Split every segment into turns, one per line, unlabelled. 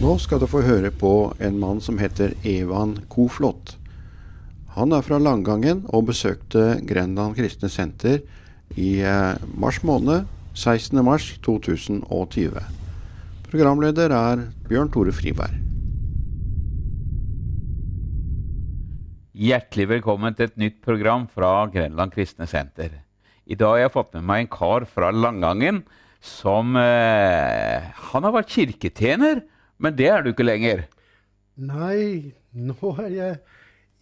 Nå skal du få høre på en mann som heter Evan Koflot. Han er fra Langangen og besøkte Grenland kristne senter i eh, mars måned, 16. mars 2020. Programleder er Bjørn Tore Friberg.
Hjertelig velkommen til et nytt program fra Grenland kristne senter. I dag har jeg fått med meg en kar fra Langangen som eh, Han har vært kirketjener, men det er du ikke lenger.
Nei, nå er jeg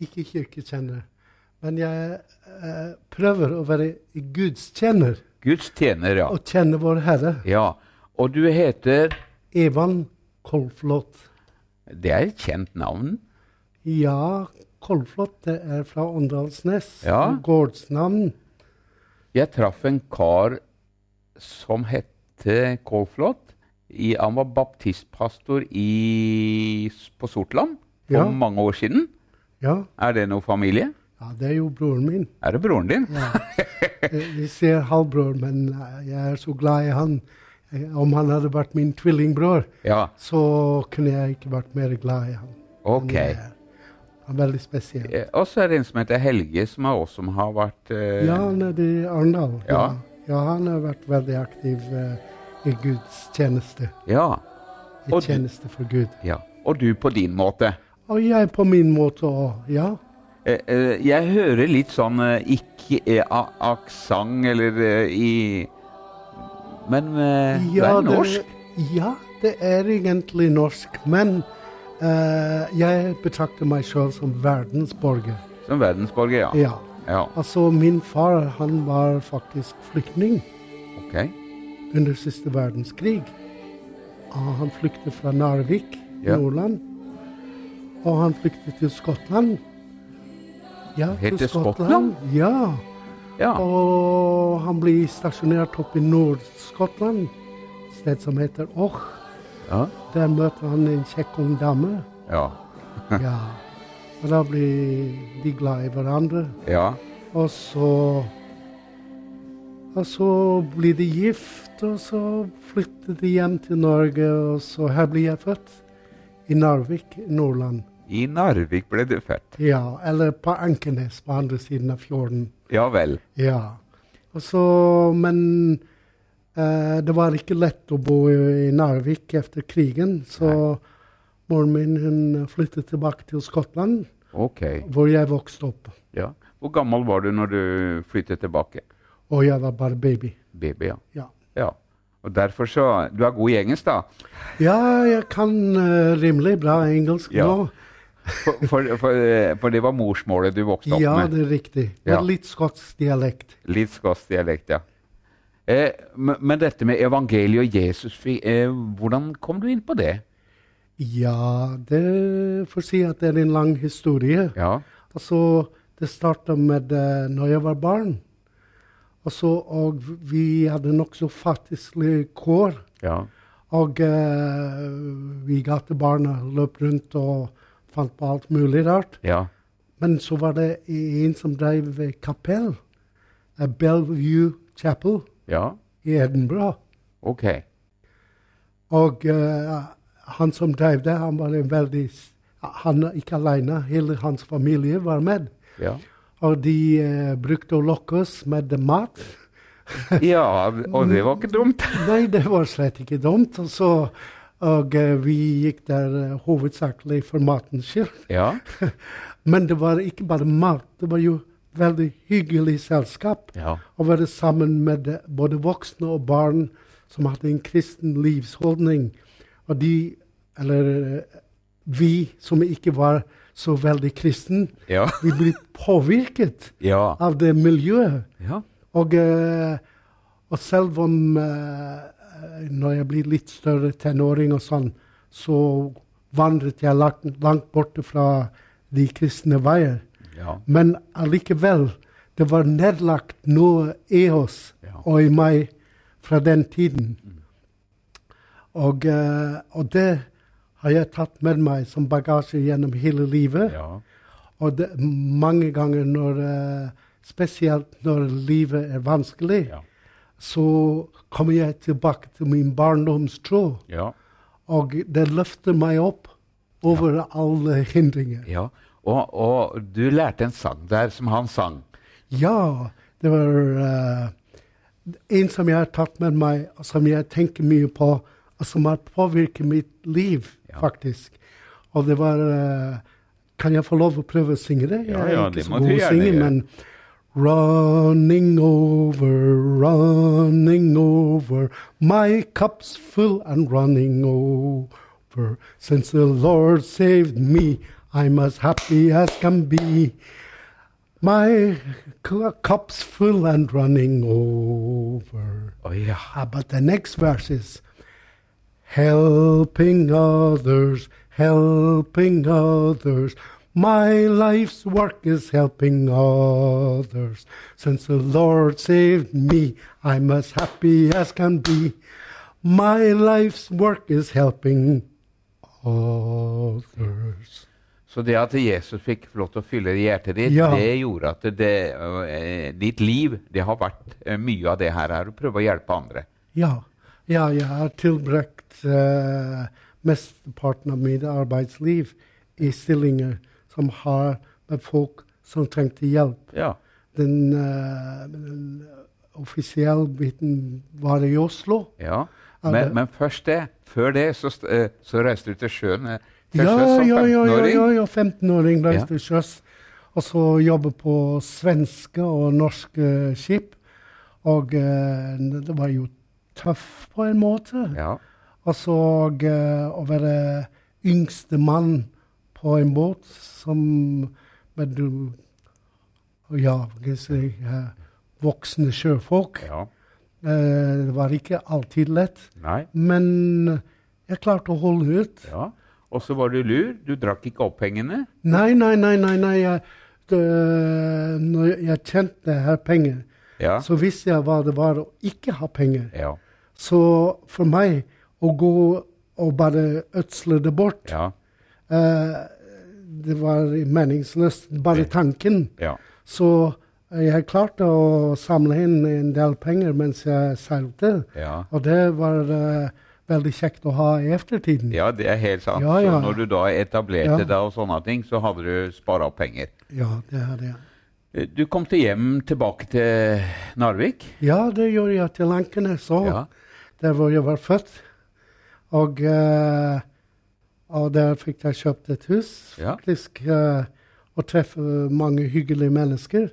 ikke kirketjener. Men jeg eh, prøver å være gudstjener
Guds tjener, ja.
og tjene vår Herre.
ja. Og du heter
Evan Kolflot.
Det er et kjent navn.
Ja, Kolflot det er fra Åndalsnes.
Ja.
Gårdsnavn.
Jeg traff en kar som hette Kolflot. I, han var baptistpastor i, på Sortland for
Ja.
mange år siden.
Ja.
Er det noe familie?
ja, det er jo broren min.
Er det broren din?
Ja. Eh, Vi ser halvbror, men eh, jeg er så glad i han. Eh, Om han hadde vært min tvillingbror,
ja.
så kunne jeg ikke vært mer glad i han.
Ok.
Han er, han er veldig spesiell.
Eh, Og så er det en som heter Helge, som er også som har vært eh,
Ja, han er i Arendal.
Ja.
ja, han har vært veldig aktiv eh, i Guds tjeneste.
ja.
I
Og du-
tjeneste for Gud.
ja. Og du på din måte.
Og jeg på min måte òg, ja.
Eh, eh, jeg hører litt sånn eh, ikke eh, a- aksent eller eh, i Men eh, det
Ja,
er norsk.
ja, det er egentlig norsk. Men eh, jeg betrakter meg selv som verdensborger.
Som verdensborger, ja.
Ja.
Ja,
Altså, min far han var faktisk flyktning
ok.
under siste verdenskrig. Og han flyktet fra Narvik,
Ja.
Nordland. Og han flyktet til Skottland. Ja,
Helt til Skottland?
Ja.
Ja,
Og han ble stasjonert oppe i Nord-Skottland, et sted som heter Och.
ja,
Der møter han en kjekk ung dame.
ja.
Ja. Og da blir de glad i hverandre.
ja.
Og så Og så blir de gift, og så flytter de hjem til Norge, og så her blir jeg født. I Narvik, Nordland.
I Narvik ble du født.
Ja, eller på Ankenes, på andre siden av fjorden.
Ja vel.
Ja. Og så, men eh, det var ikke lett å bo i, i Narvik etter krigen, så moren min hun flyttet tilbake til Skottland,
Ok.
hvor jeg vokste opp.
Ja. Hvor gammel var du når du flyttet tilbake?
Og jeg var bare baby.
Baby, ja.
Ja.
Ja. Og derfor så Du er god i engelsk, da.
Ja, jeg kan eh, rimelig bra engelsk
Ja,
nå.
For, for, for, eh, for det var morsmålet du vokste opp
Ja,
med.
det er riktig.
Ja.
Med litt skotsk dialekt.
Litt skotsk dialekt, ja. Eh, men, men dette med evangeliet og Jesus, fi- eh, hvordan kom du inn på det?
Ja, det får si at det er en lang historie.
Ja.
Altså, det starta med uh, når jeg var barn. Og, så, og vi hadde nokså fattigslige kår.
Ja.
Og eh, vi gatebarna løp rundt og fant på alt mulig rart.
Ja.
Men så var det en som drev eh, kapell. eh, Bellevue Chapel.
ja.
i Edinburgh.
Ok.
Og eh, han som drev det, han var en veldig s- Han er ikke alene, hele hans familie var med.
Ja.
Og de eh, brukte å lokke oss med mat.
ja, og det var ikke dumt.
Nei, det var slett ikke dumt. Og, så, og eh, vi gikk der eh, hovedsakelig for matens skyld.
Ja.
Men det var ikke bare mat, det var jo veldig hyggelig selskap.
Ja.
Å være sammen med eh, både voksne og barn som hadde en kristen livsholdning. Og de, eller eh, vi som ikke var så veldig kristen,
Ja.
vi ble påvirket
Ja.
av det miljøet.
Ja.
Og, eh, og selv om eh, når jeg blir litt større tenåring og sånn, så vandret jeg langt, langt borte fra de kristne veier.
Ja.
Men allikevel, det var nedlagt noe i oss
Ja. Mm.
og i meg fra den tiden. Og, eh, og det har jeg tatt med meg som bagasje gjennom hele livet.
Ja.
Og det, mange ganger når eh, Spesielt når livet er vanskelig,
Ja.
så kommer jeg tilbake til min barndomstro.
Ja.
Og det løfter meg opp over alle hindringer.
Ja, og, og du lærte en sang der som han sang.
Ja, det var eh, en som jeg har tatt med meg, og som jeg tenker mye på, og som har påvirket mitt liv,
Ja.
faktisk. Og det var eh, Kan jeg få lov å prøve å synge det?
Ja,
jeg
ja,
er
det
ikke så
må du
god å
gjerne
synge,
gjøre.
men Running over, running over, my cup's full and running over. Since the Lord saved me, I'm as happy as can be. My cu- cup's full and running over.
Å ja.
Ah, but the next verse is helping others, helping others. My life's work is helping others. Since the Lord saved me, I'm as happy as can be. My life's work is helping others.
Så det at Jesus fikk lov til å fylle hjertet ditt,
Ja.
det gjorde at det, eh, ditt liv det har vært eh, mye av det her. her, Å prøve å hjelpe andre.
Ja, ja jeg har tilbrakt eh, mesteparten av mitt arbeidsliv i stillinger som har med folk som trengte hjelp.
Ja.
Den, eh, den offisielle biten var i Oslo.
ja.
Ja,
Men,
det-
men først det. Før det så, st- eh, så reiste du til sjøen eh, til
Ja,
sjøs som
ja, ja, ja,
15-åring.
ja, ja 15-åring
Ja.
reiste til sjøs. Og så jobbe på svenske og norske skip. Og eh, det var jo tøft på en måte.
Ja.
Og så eh, å være yngste mann på en båt som Men du Ja, hva skal jeg si eh, Voksne sjøfolk.
ja.
Eh, det var ikke alltid lett.
Nei.
Men jeg klarte å holde ut.
Ja. Og så var du lur. Du drakk ikke opp pengene.
Nei, nei, nei, nei. nei jeg, det, når jeg tjente her penger,
Ja.
så visste jeg hva det var å ikke ha penger.
Ja.
Så for meg å gå og bare ødsle det bort
Ja.
Eh, det var meningsløst, bare
Ja.
tanken.
ja.
Så eh, jeg klarte å samle inn en del penger mens jeg seilte.
ja.
Og det var eh, veldig kjekt å ha i eftertiden.
Ja, det er helt sant.
Ja, ja.
Så når du da etablerte
Ja.
deg og sånne ting, så hadde du spara opp penger.
Ja, det hadde jeg.
Eh, Du kom til hjem tilbake til Narvik.
Ja, det gjorde jeg til Ankenes òg,
Ja.
der hvor jeg var født. Og, eh, og der fikk jeg kjøpt et hus,
Ja.
faktisk. eh, og treffe mange hyggelige mennesker.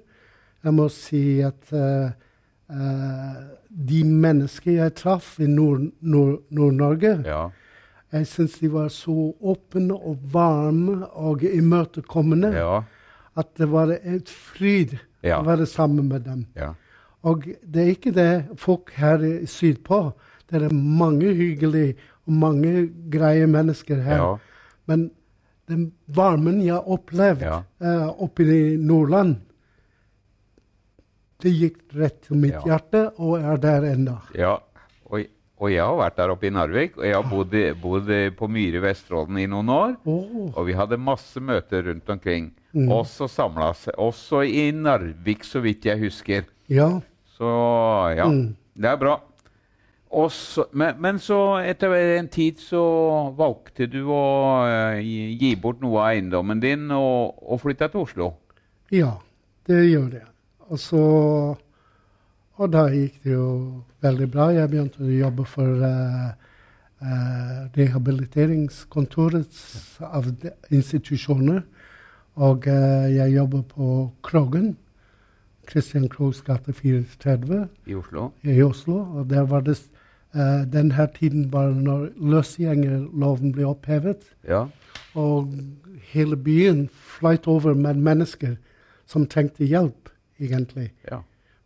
Jeg må si at eh, eh, de mennesker jeg traff i Nord- Nord- Nord-Norge,
Ja.
jeg syns de var så åpne og varme og imøtekommende
Ja.
at det var et fryd
Ja.
å være sammen med dem.
ja.
Og det er ikke det folk her i sydpå. Det er mange hyggelige og mange greie mennesker her.
Ja.
Men den varmen jeg opplevde
Ja.
eh, oppe i Nordland, det gikk rett til mitt
Ja.
hjerte og er der ennå.
ja. Og, og jeg har vært der oppe i Narvik, og jeg har bodd, i- bodd i- på Myre i Vesterålen i noen år.
Åh,
Og vi hadde masse møter rundt omkring, også samla seg. Også i Narvik, så vidt jeg husker.
Ja.
Så ja, det er bra. Og så, men, men så etter en tid så valgte du å eh, gi gi bort noe av eiendommen din og, og flytta til Oslo.
ja, det gjør det. Og så Og da gikk det jo veldig bra. Jeg begynte å jobbe for eh, eh, rehabiliteringskontorets avde- institusjoner. Og eh, jeg jobber på Krogen. Christian Krohgs gate 34.
I Oslo?
i Oslo. og der var det, eh, Den her tiden var når løsgjengerloven ble opphevet,
Ja.
og hele byen fløyt over med mennesker som trengte hjelp, egentlig.
ja.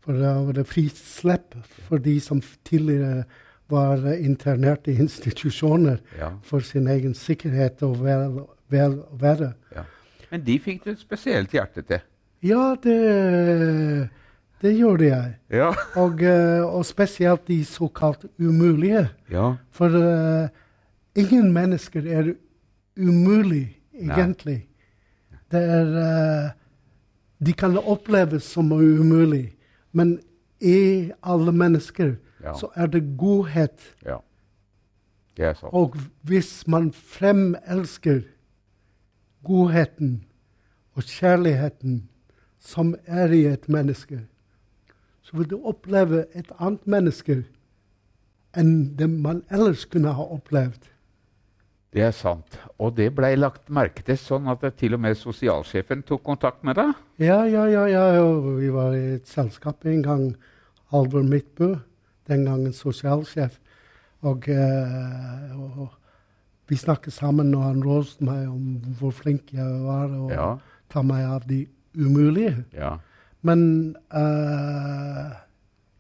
For da var det frislepp for de som f- tidligere var eh, internert i institusjoner
ja,
for sin egen sikkerhet og vel, vel, være.
ja. Men de fikk du et spesielt hjerte til.
Ja, det, det gjorde jeg.
Ja.
Og, eh, og spesielt de såkalt umulige.
ja.
For eh, ingen mennesker er umulig, egentlig. Det er eh, De kan oppleves som umulig, men i alle mennesker
Ja.
så er det godhet
Ja. Det er sant.
Og hvis man fremelsker godheten og kjærligheten som er i et menneske, så vil du oppleve et annet menneske enn det man ellers kunne ha opplevd.
Det er sant. Og det blei lagt merke til sånn at til og med sosialsjefen tok kontakt med deg.
Ja, ja, ja, ja. og Vi var i et selskap en gang, Halvor Midtbø, den gangen sosialsjef. Og, eh, og vi snakket sammen, og han roste meg om hvor flink jeg var, og
Ja,
ta meg av de umulige.
ja.
Men eh,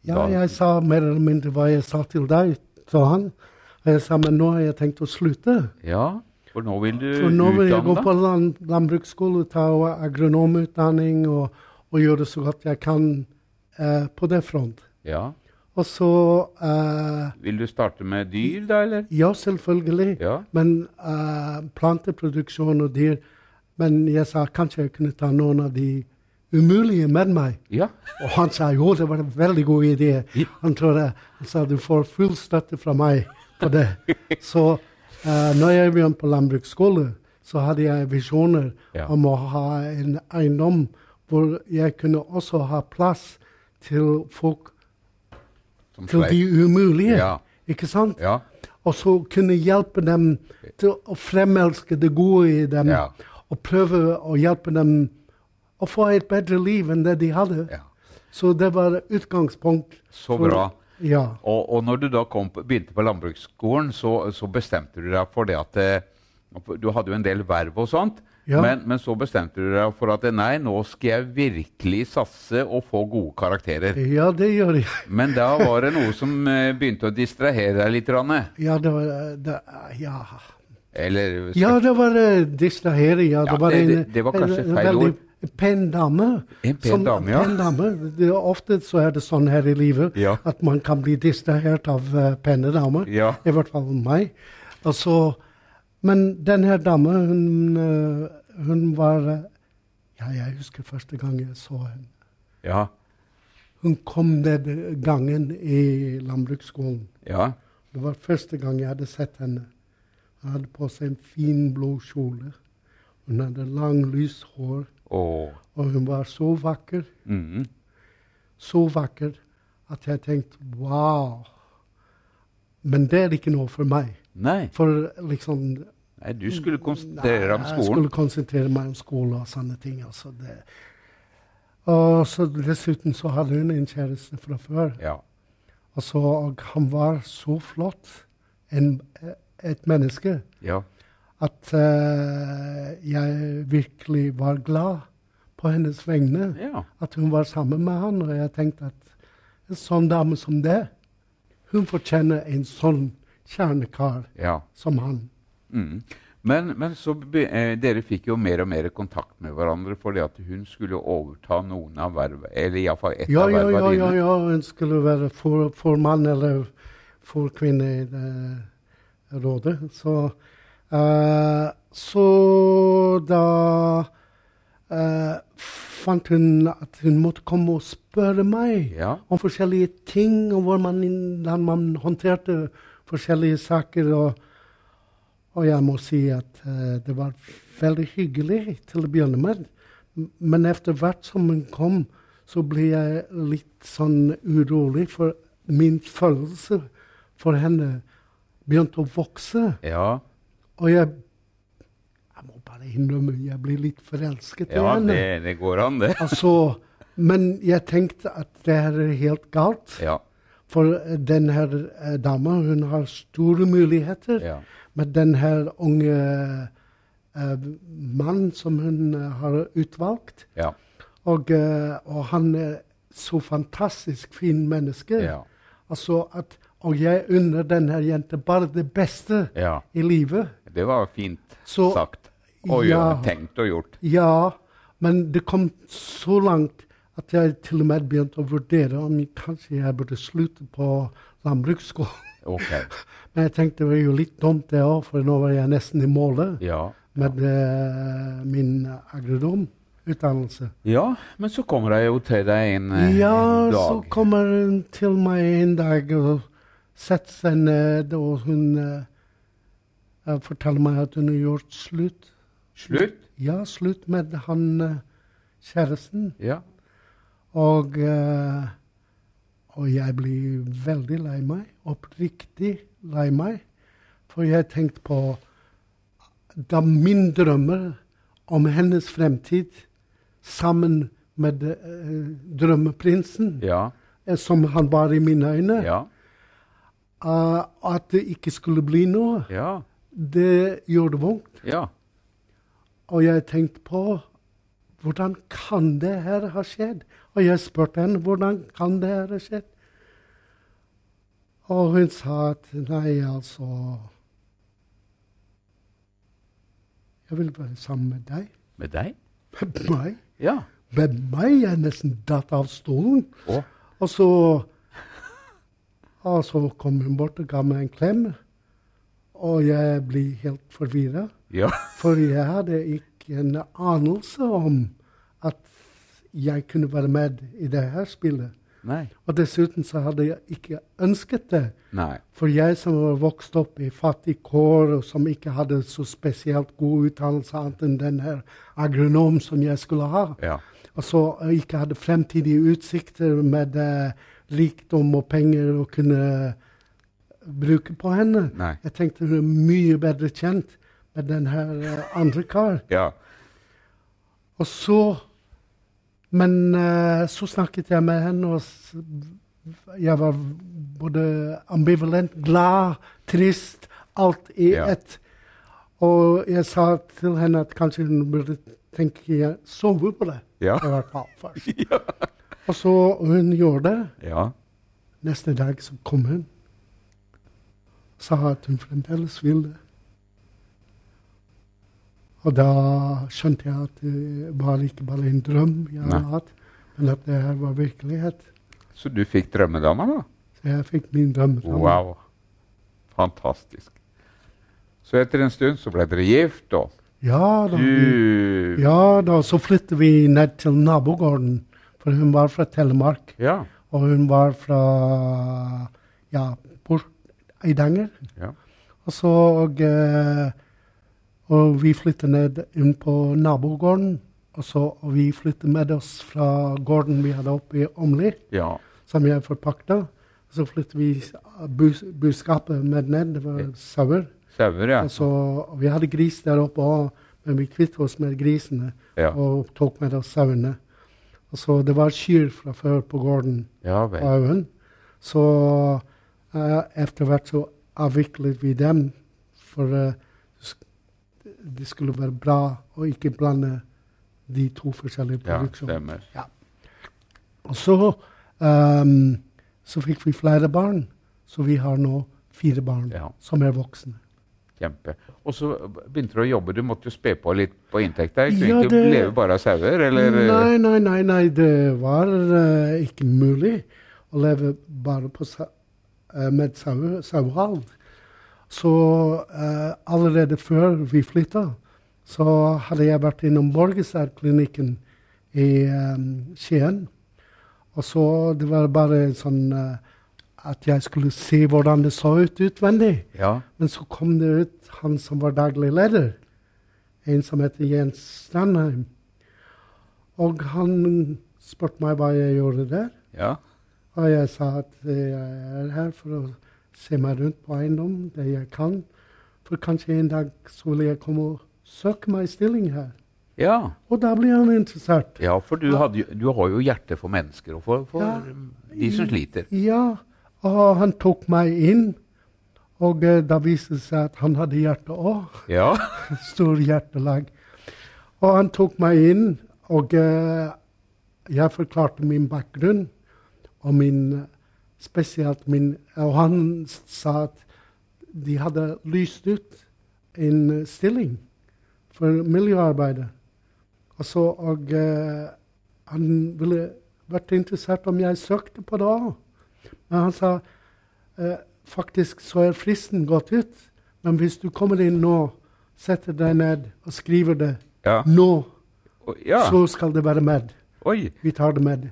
ja,
Da-
jeg sa mer eller mindre hva jeg sa til deg, sa han. Og jeg sa men nå har jeg tenkt å slutte.
ja. For nå vil du
For nå vil jeg gå
utdanne
på
deg?
land, landbruksskole, ta agronomutdanning og, og gjøre så godt jeg kan eh, på det front.
Ja.
Og så eh,
Vil du starte med dyr, da, eller?
Ja, selvfølgelig.
Ja.
Men eh, planteproduksjon og dyr Men jeg sa kanskje jeg kunne ta noen av de umulige med meg.
Ja.
Og han sa jo, det var en veldig god idé.
Ja.
Han tror det. Han sa du får full støtte fra meg på det. Så eh, når jeg begynte på landbruksskole, så hadde jeg visjoner
Ja.
om å ha en eiendom hvor jeg kunne også ha plass til folk
Som
til
sleit.
de umulige.
Ja.
Ikke sant?
Ja.
Og så kunne hjelpe dem til å fremelske det gode i dem.
Ja.
Og prøve å hjelpe dem å få et bedre liv enn det de hadde.
ja.
Så det var utgangspunkt.
Så bra.
Ja.
Og, og når du da kom, på- begynte på landbruksskolen, så, så bestemte du deg for det at eh, Du hadde jo en del verv og sånt,
Ja.
men, men så bestemte du deg for at eh, nei, nå skal jeg virkelig satse og få gode karakterer.
ja, det gjør jeg.
Men da var det noe som eh, begynte å distrahere deg litt. Ranne.
Ja, det var det, Ja,
Eller
ja det var eh, distrahere. Ja, det
Ja,
var
det-
en,
det- det var kanskje
en, en
feil
veldig
ord.
pen dame.
En pen dame, ja.
Pen dame. Det, er ofte så er det sånn her i livet
Ja.
at man kan bli distrahert av eh, pene damer.
ja,
I hvert fall meg. Og så- men den her dama, hun, øh, hun var øh, Ja, jeg husker første gang jeg så henne.
ja,
Hun kom ned gangen i landbruksskolen.
ja,
Det var første gang jeg hadde sett henne. Hun hadde på seg en fin, blå kjole. Hun hadde lang, lyst hår,
og
og hun var så vakker,
mm,
så vakker, at jeg tenkte wow. Men det er ikke noe for meg.
nei,
For liksom
nei, du skulle konsentrere deg om
Jeg
skolen.
skulle konsentrere meg om skole og sånne ting. Altså det. Og så dessuten så hadde hun en kjæreste fra før.
Ja,
Og, så, og Altså, han var så flott, en, et menneske,
ja,
at eh, jeg virkelig var glad på hennes vegne.
ja,
At hun var sammen med han. Og jeg tenkte at en sånn dame som det, hun fortjener en sånn kjernekar
ja.
som han.
Mm. Men, men så be, eh, dere fikk jo mer og mer kontakt med hverandre fordi at hun skulle overta noen av vervene. Eller iallfall ett
Ja,
av
ja,
vervene
ja, ja,
dine.
ja. Hun skulle være for, formann eller forkvinne i det rådet. Så, eh, så da eh, fant hun at hun måtte komme og spørre meg
Ja,
om forskjellige ting, og hvor man, hvordan man håndterte forskjellige saker. Og, og jeg må si at eh, det var veldig hyggelig til å begynne med. M- Men etter hvert som hun kom, så ble jeg litt sånn urolig, for min følelse for henne begynte å vokse.
ja,
Og jeg jeg må bare innrømme, jeg ble litt forelsket
ja
i henne.
det, det går an, det.
Altså, men jeg tenkte at det her er helt galt.
Ja,
For eh, den her eh, dama, hun har store muligheter.
ja,
Men den her unge eh, mannen som hun eh, har utvalgt,
ja,
og, eh, og han er så fantastisk fin menneske.
ja,
Altså at, og jeg unner den her jenta bare det beste
ja.
i livet.
Det var fint
Så-
sagt. Og
Ja.
gjort, tenkt og gjort.
Ja, men det kom så langt at jeg til og med begynte å vurdere om jeg, kanskje jeg burde slutte på landbruksskolen.
Ok.
Men jeg tenkte det var jo litt dumt det òg, for nå var jeg nesten i målet
Ja.
med eh, min agronomutdannelse.
ja, men så kommer det jo til deg en eh,
Ja,
dag.
så kommer hun til meg en dag og setter seg ned, og hun eh, eh, forteller meg at hun har gjort slutt.
Slutt?
Ja, slutt med han eh, kjæresten.
Ja.
Og, eh, og jeg blir veldig lei meg. Oppriktig lei meg. For jeg tenkte på da min drømmer om hennes fremtid sammen med eh, drømmeprinsen,
Ja.
eh, som han var i mine øyne,
Ja.
eh, at det ikke skulle bli noe,
Ja.
det gjorde vondt.
Ja.
Og jeg tenkte på hvordan kan det her ha skjedd? Og jeg spurte henne hvordan kan det her ha skjedd. Og hun sa at nei, altså Jeg vil være sammen med deg.
Med deg?
Med meg?
Ja.
Med meg? Jeg nesten datt av stolen.
Å.
Og så, og så kom hun bort og ga meg en klem. Og jeg ble helt forvirra.
Ja.
For jeg hadde ikke en anelse om at jeg kunne være med i det her spillet.
Nei.
Og dessuten så hadde jeg ikke ønsket det.
Nei.
For jeg som var vokst opp i fattig kår, og som ikke hadde så spesielt god utdannelse annet enn den her agronom som jeg skulle ha,
Ja.
og så ikke hadde fremtidige utsikter med eh, rikdom og penger å kunne bruke på henne.
Nei.
Jeg tenkte hun er mye bedre kjent med den her eh, andre kar.
Ja.
Og så Men eh, så snakket jeg med henne, og s- jeg var både ambivalent, glad, trist, alt i
Ja.
ett. Og jeg sa til henne at kanskje hun burde tenke sove på det.
Ja.
I hvert fall først. Og så hun gjorde det.
Ja.
Neste dag så kom hun. Sa at hun fremdeles ville. Og da skjønte jeg at det var ikke bare en drøm jeg hadde
Nei.
hatt, men at det her var virkelighet.
Så du fikk drømmedama, da?
Så jeg fikk min drøm.
Wow. Fantastisk. Så etter en stund så ble dere gift, og
Ja da. vi-
du
Ja da, så flyttet vi ned til nabogården, for hun var fra Telemark.
Ja.
Og hun var fra ja, Port Eidanger.
Ja.
Og så og, eh, og vi flyttet ned inn på nabogården. Og så og vi flyttet med oss fra gården vi hadde oppe i Åmli,
Ja.
som jeg forpakta. Og så flyttet vi s- bus, buskapet med ned. Det var sauer.
Sauer, ja.
Og så, og vi hadde gris der oppe òg, men vi kvittet oss med grisene
Ja.
og tok med oss sauene. Og så det var kyr fra før på gården
ja
på
vel.
haugen. Så eh, etter hvert så avviklet vi dem, for eh, sk- det skulle være bra å ikke blande de to forskjellige
Ja,
produksjonene.
stemmer.
og så, ehm, så fikk vi flere barn, så vi har nå fire barn
Ja.
som er voksne.
Kjempe. Og så begynte du å jobbe. Du måtte jo spe på litt på inntekta. Du kunne
Ja,
ikke
det-
leve bare av sauer, eller
Nei, nei, nei, nei, det var eh, ikke mulig å leve bare på, sa- eh, med sau- sauehold. Så eh, allerede før vi flytta, så hadde jeg vært innom Borgestadklinikken i eh, Skien. Og så det var bare sånn eh, at jeg skulle se hvordan det så ut utvendig.
Ja.
Men så kom det ut han som var daglig leder, en som heter Jens Strandheim. Og han spurte meg hva jeg gjorde der.
Ja.
Og jeg sa at eh, jeg er her for å se meg rundt på eiendom, det jeg kan. For kanskje en dag så vil jeg komme og søke meg stilling her.
ja.
Og da ble han interessert.
Ja, for du, hadde, jo- du har jo hjerte for mennesker og for, for
Ja.
um, de som sliter.
Ja, og han tok meg inn. Og eh, da viste det seg at han hadde hjerte òg.
Ja.
stor hjertelag. Og han tok meg inn, og eh, jeg forklarte min bakgrunn. Og min, eh, spesielt min Og han s- sa at de hadde lyst ut en eh, stilling for miljøarbeidet. Og så og eh, Han ville vært interessert om jeg søkte på det òg. Men han sa eh, faktisk så er fristen gått ut. Men hvis du kommer inn nå, setter deg ned og skriver det
Ja.
nå,
Og- ja.
så skal det være med.
Oi.
Vi tar det med.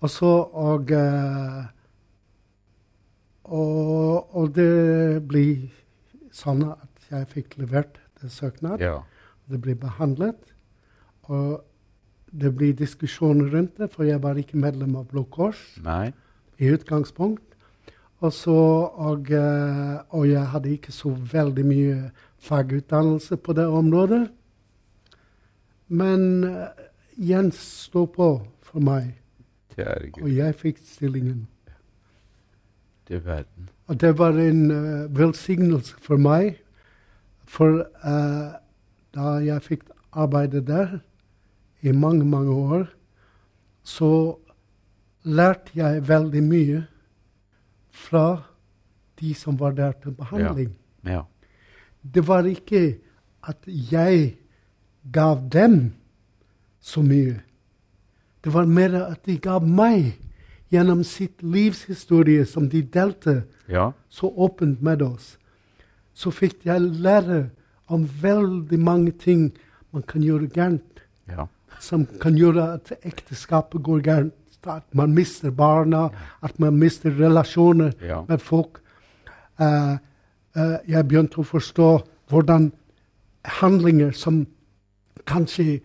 Og så og eh, Og, og det blir sånn at jeg fikk levert det søknad.
Ja.
Det ble behandlet. Og det ble diskusjoner rundt det, for jeg var ikke medlem av Blå Kors
Nei.
i utgangspunkt. Og, så, og, eh, og jeg hadde ikke så veldig mye fagutdannelse på det området. Men eh, Jens sto på for meg,
Kjære
og
Gud,
jeg fikk stillingen.
du verden.
Og det var en eh, velsignelse for meg. For eh, da jeg fikk arbeide der i mange, mange år, så lærte jeg veldig mye fra de som var der til behandling.
Ja.
Det var ikke at jeg gav dem så mye. Det var mer at de gav meg gjennom sitt livshistorie som de delte
ja.
så åpent med oss, så fikk jeg lære om veldig mange ting man kan gjøre gærent,
Ja.
som kan gjøre at ekteskapet går gærent, at man mister barna, at man mister relasjoner
Ja.
med folk. Eh, eh, jeg begynte å forstå hvordan handlinger som kanskje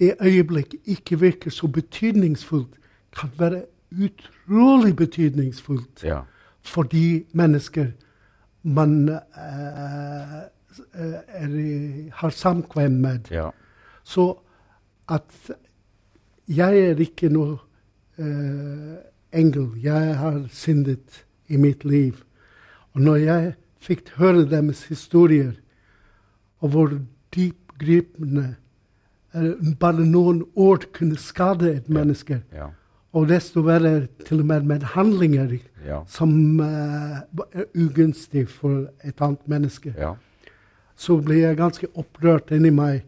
i øyeblikk ikke virker så betydningsfullt, kan være utrolig betydningsfullt
Ja.
for de mennesker man eh, s- eh, er, i- har samkvem med.
Ja.
Så at jeg er ikke noe eh, engel. Jeg har syndet i mitt liv. Og når jeg fikk høre deres historier, og hvor dypgripende eh, bare noen ord kunne skade et menneske,
Ja.
og desto verre til og med med handlinger
Ja.
som eh, er ugunstig for et annet menneske.
Ja.
Så ble jeg ganske opprørt inni meg.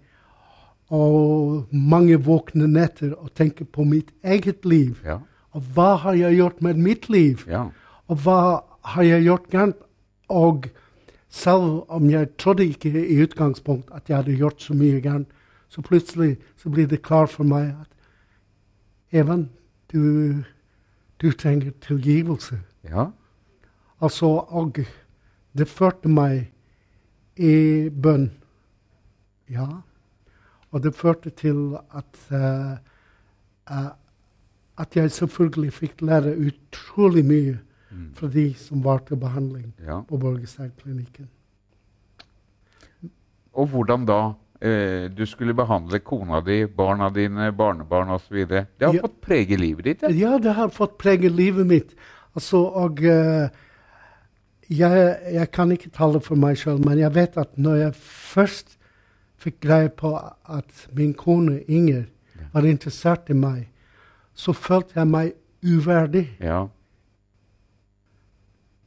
Og mange våkne netter og tenker på mitt eget liv.
Ja.
Og hva har jeg gjort med mitt liv?
Ja.
Og hva har jeg gjort gærent? Og selv om jeg trodde ikke i utgangspunkt at jeg hadde gjort så mye gærent, så plutselig så blir det klart for meg at Even, du, du trenger tilgivelse.
Ja.
Altså, og det førte meg i bønn. Ja. Og det førte til at eh, eh, at jeg selvfølgelig fikk lære utrolig mye
Mm.
fra de som var til behandling
ja.
på Borgestadklinikken.
Og hvordan da? Eh, du skulle behandle kona di, barna dine, barnebarn osv. Det har
Ja.
fått prege livet ditt. det.
Ja, det har fått prege livet mitt. Altså, og eh, jeg, jeg kan ikke tale for meg sjøl, men jeg vet at når jeg først fikk greie på at min kone Inger
Ja.
var interessert i meg, så følte jeg meg uverdig.
Ja.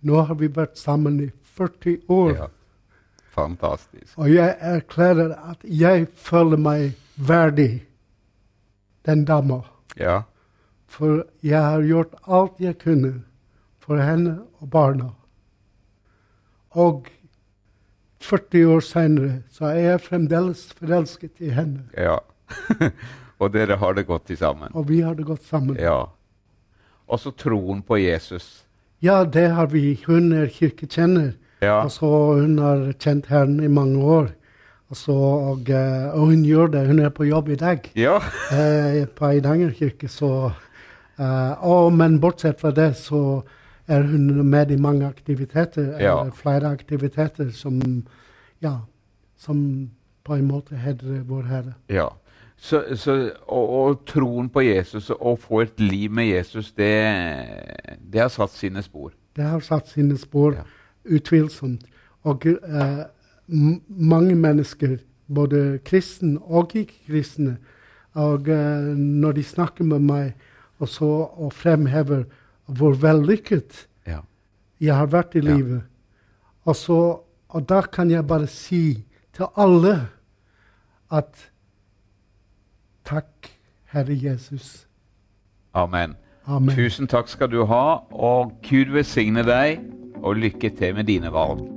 Nå har vi vært sammen i 40 år,
ja. Fantastisk.
og jeg erklærer at jeg føler meg verdig den dama.
Ja.
For jeg har gjort alt jeg kunne for henne og barna. Og 40 år senere så er jeg fremdeles forelsket i henne.
ja. og dere har det godt til sammen.
Og vi har det godt sammen. Ja,
Ja. Og så troen på Jesus.
det har vi. Hun er kirkekjenner.
Ja.
Altså, hun har kjent Herren i mange år. Altså, og, eh, og hun gjør det. Hun er på jobb i dag.
Ja.
eh, på Eidanger kirke, så eh, og, Men bortsett fra det, så er hun med i mange aktiviteter.
Ja.
Eller flere aktiviteter som Ja, som på en måte hedrer Vår Herre.
ja. Så, så, og, og troen på Jesus og å få et liv med Jesus, det, det har satt sine spor.
Det har satt sine spor,
Ja.
utvilsomt. Og eh, m mange mennesker, både kristne og ikke-kristne, og eh, når de snakker med meg og, så, og fremhever hvor vellykket
Ja.
jeg har vært i
Ja.
livet. Og, så, og da kan jeg bare si til alle at takk, Herre Jesus.
Amen.
Amen.
Tusen takk skal du ha, og Gud velsigne deg, og lykke til med dine valg.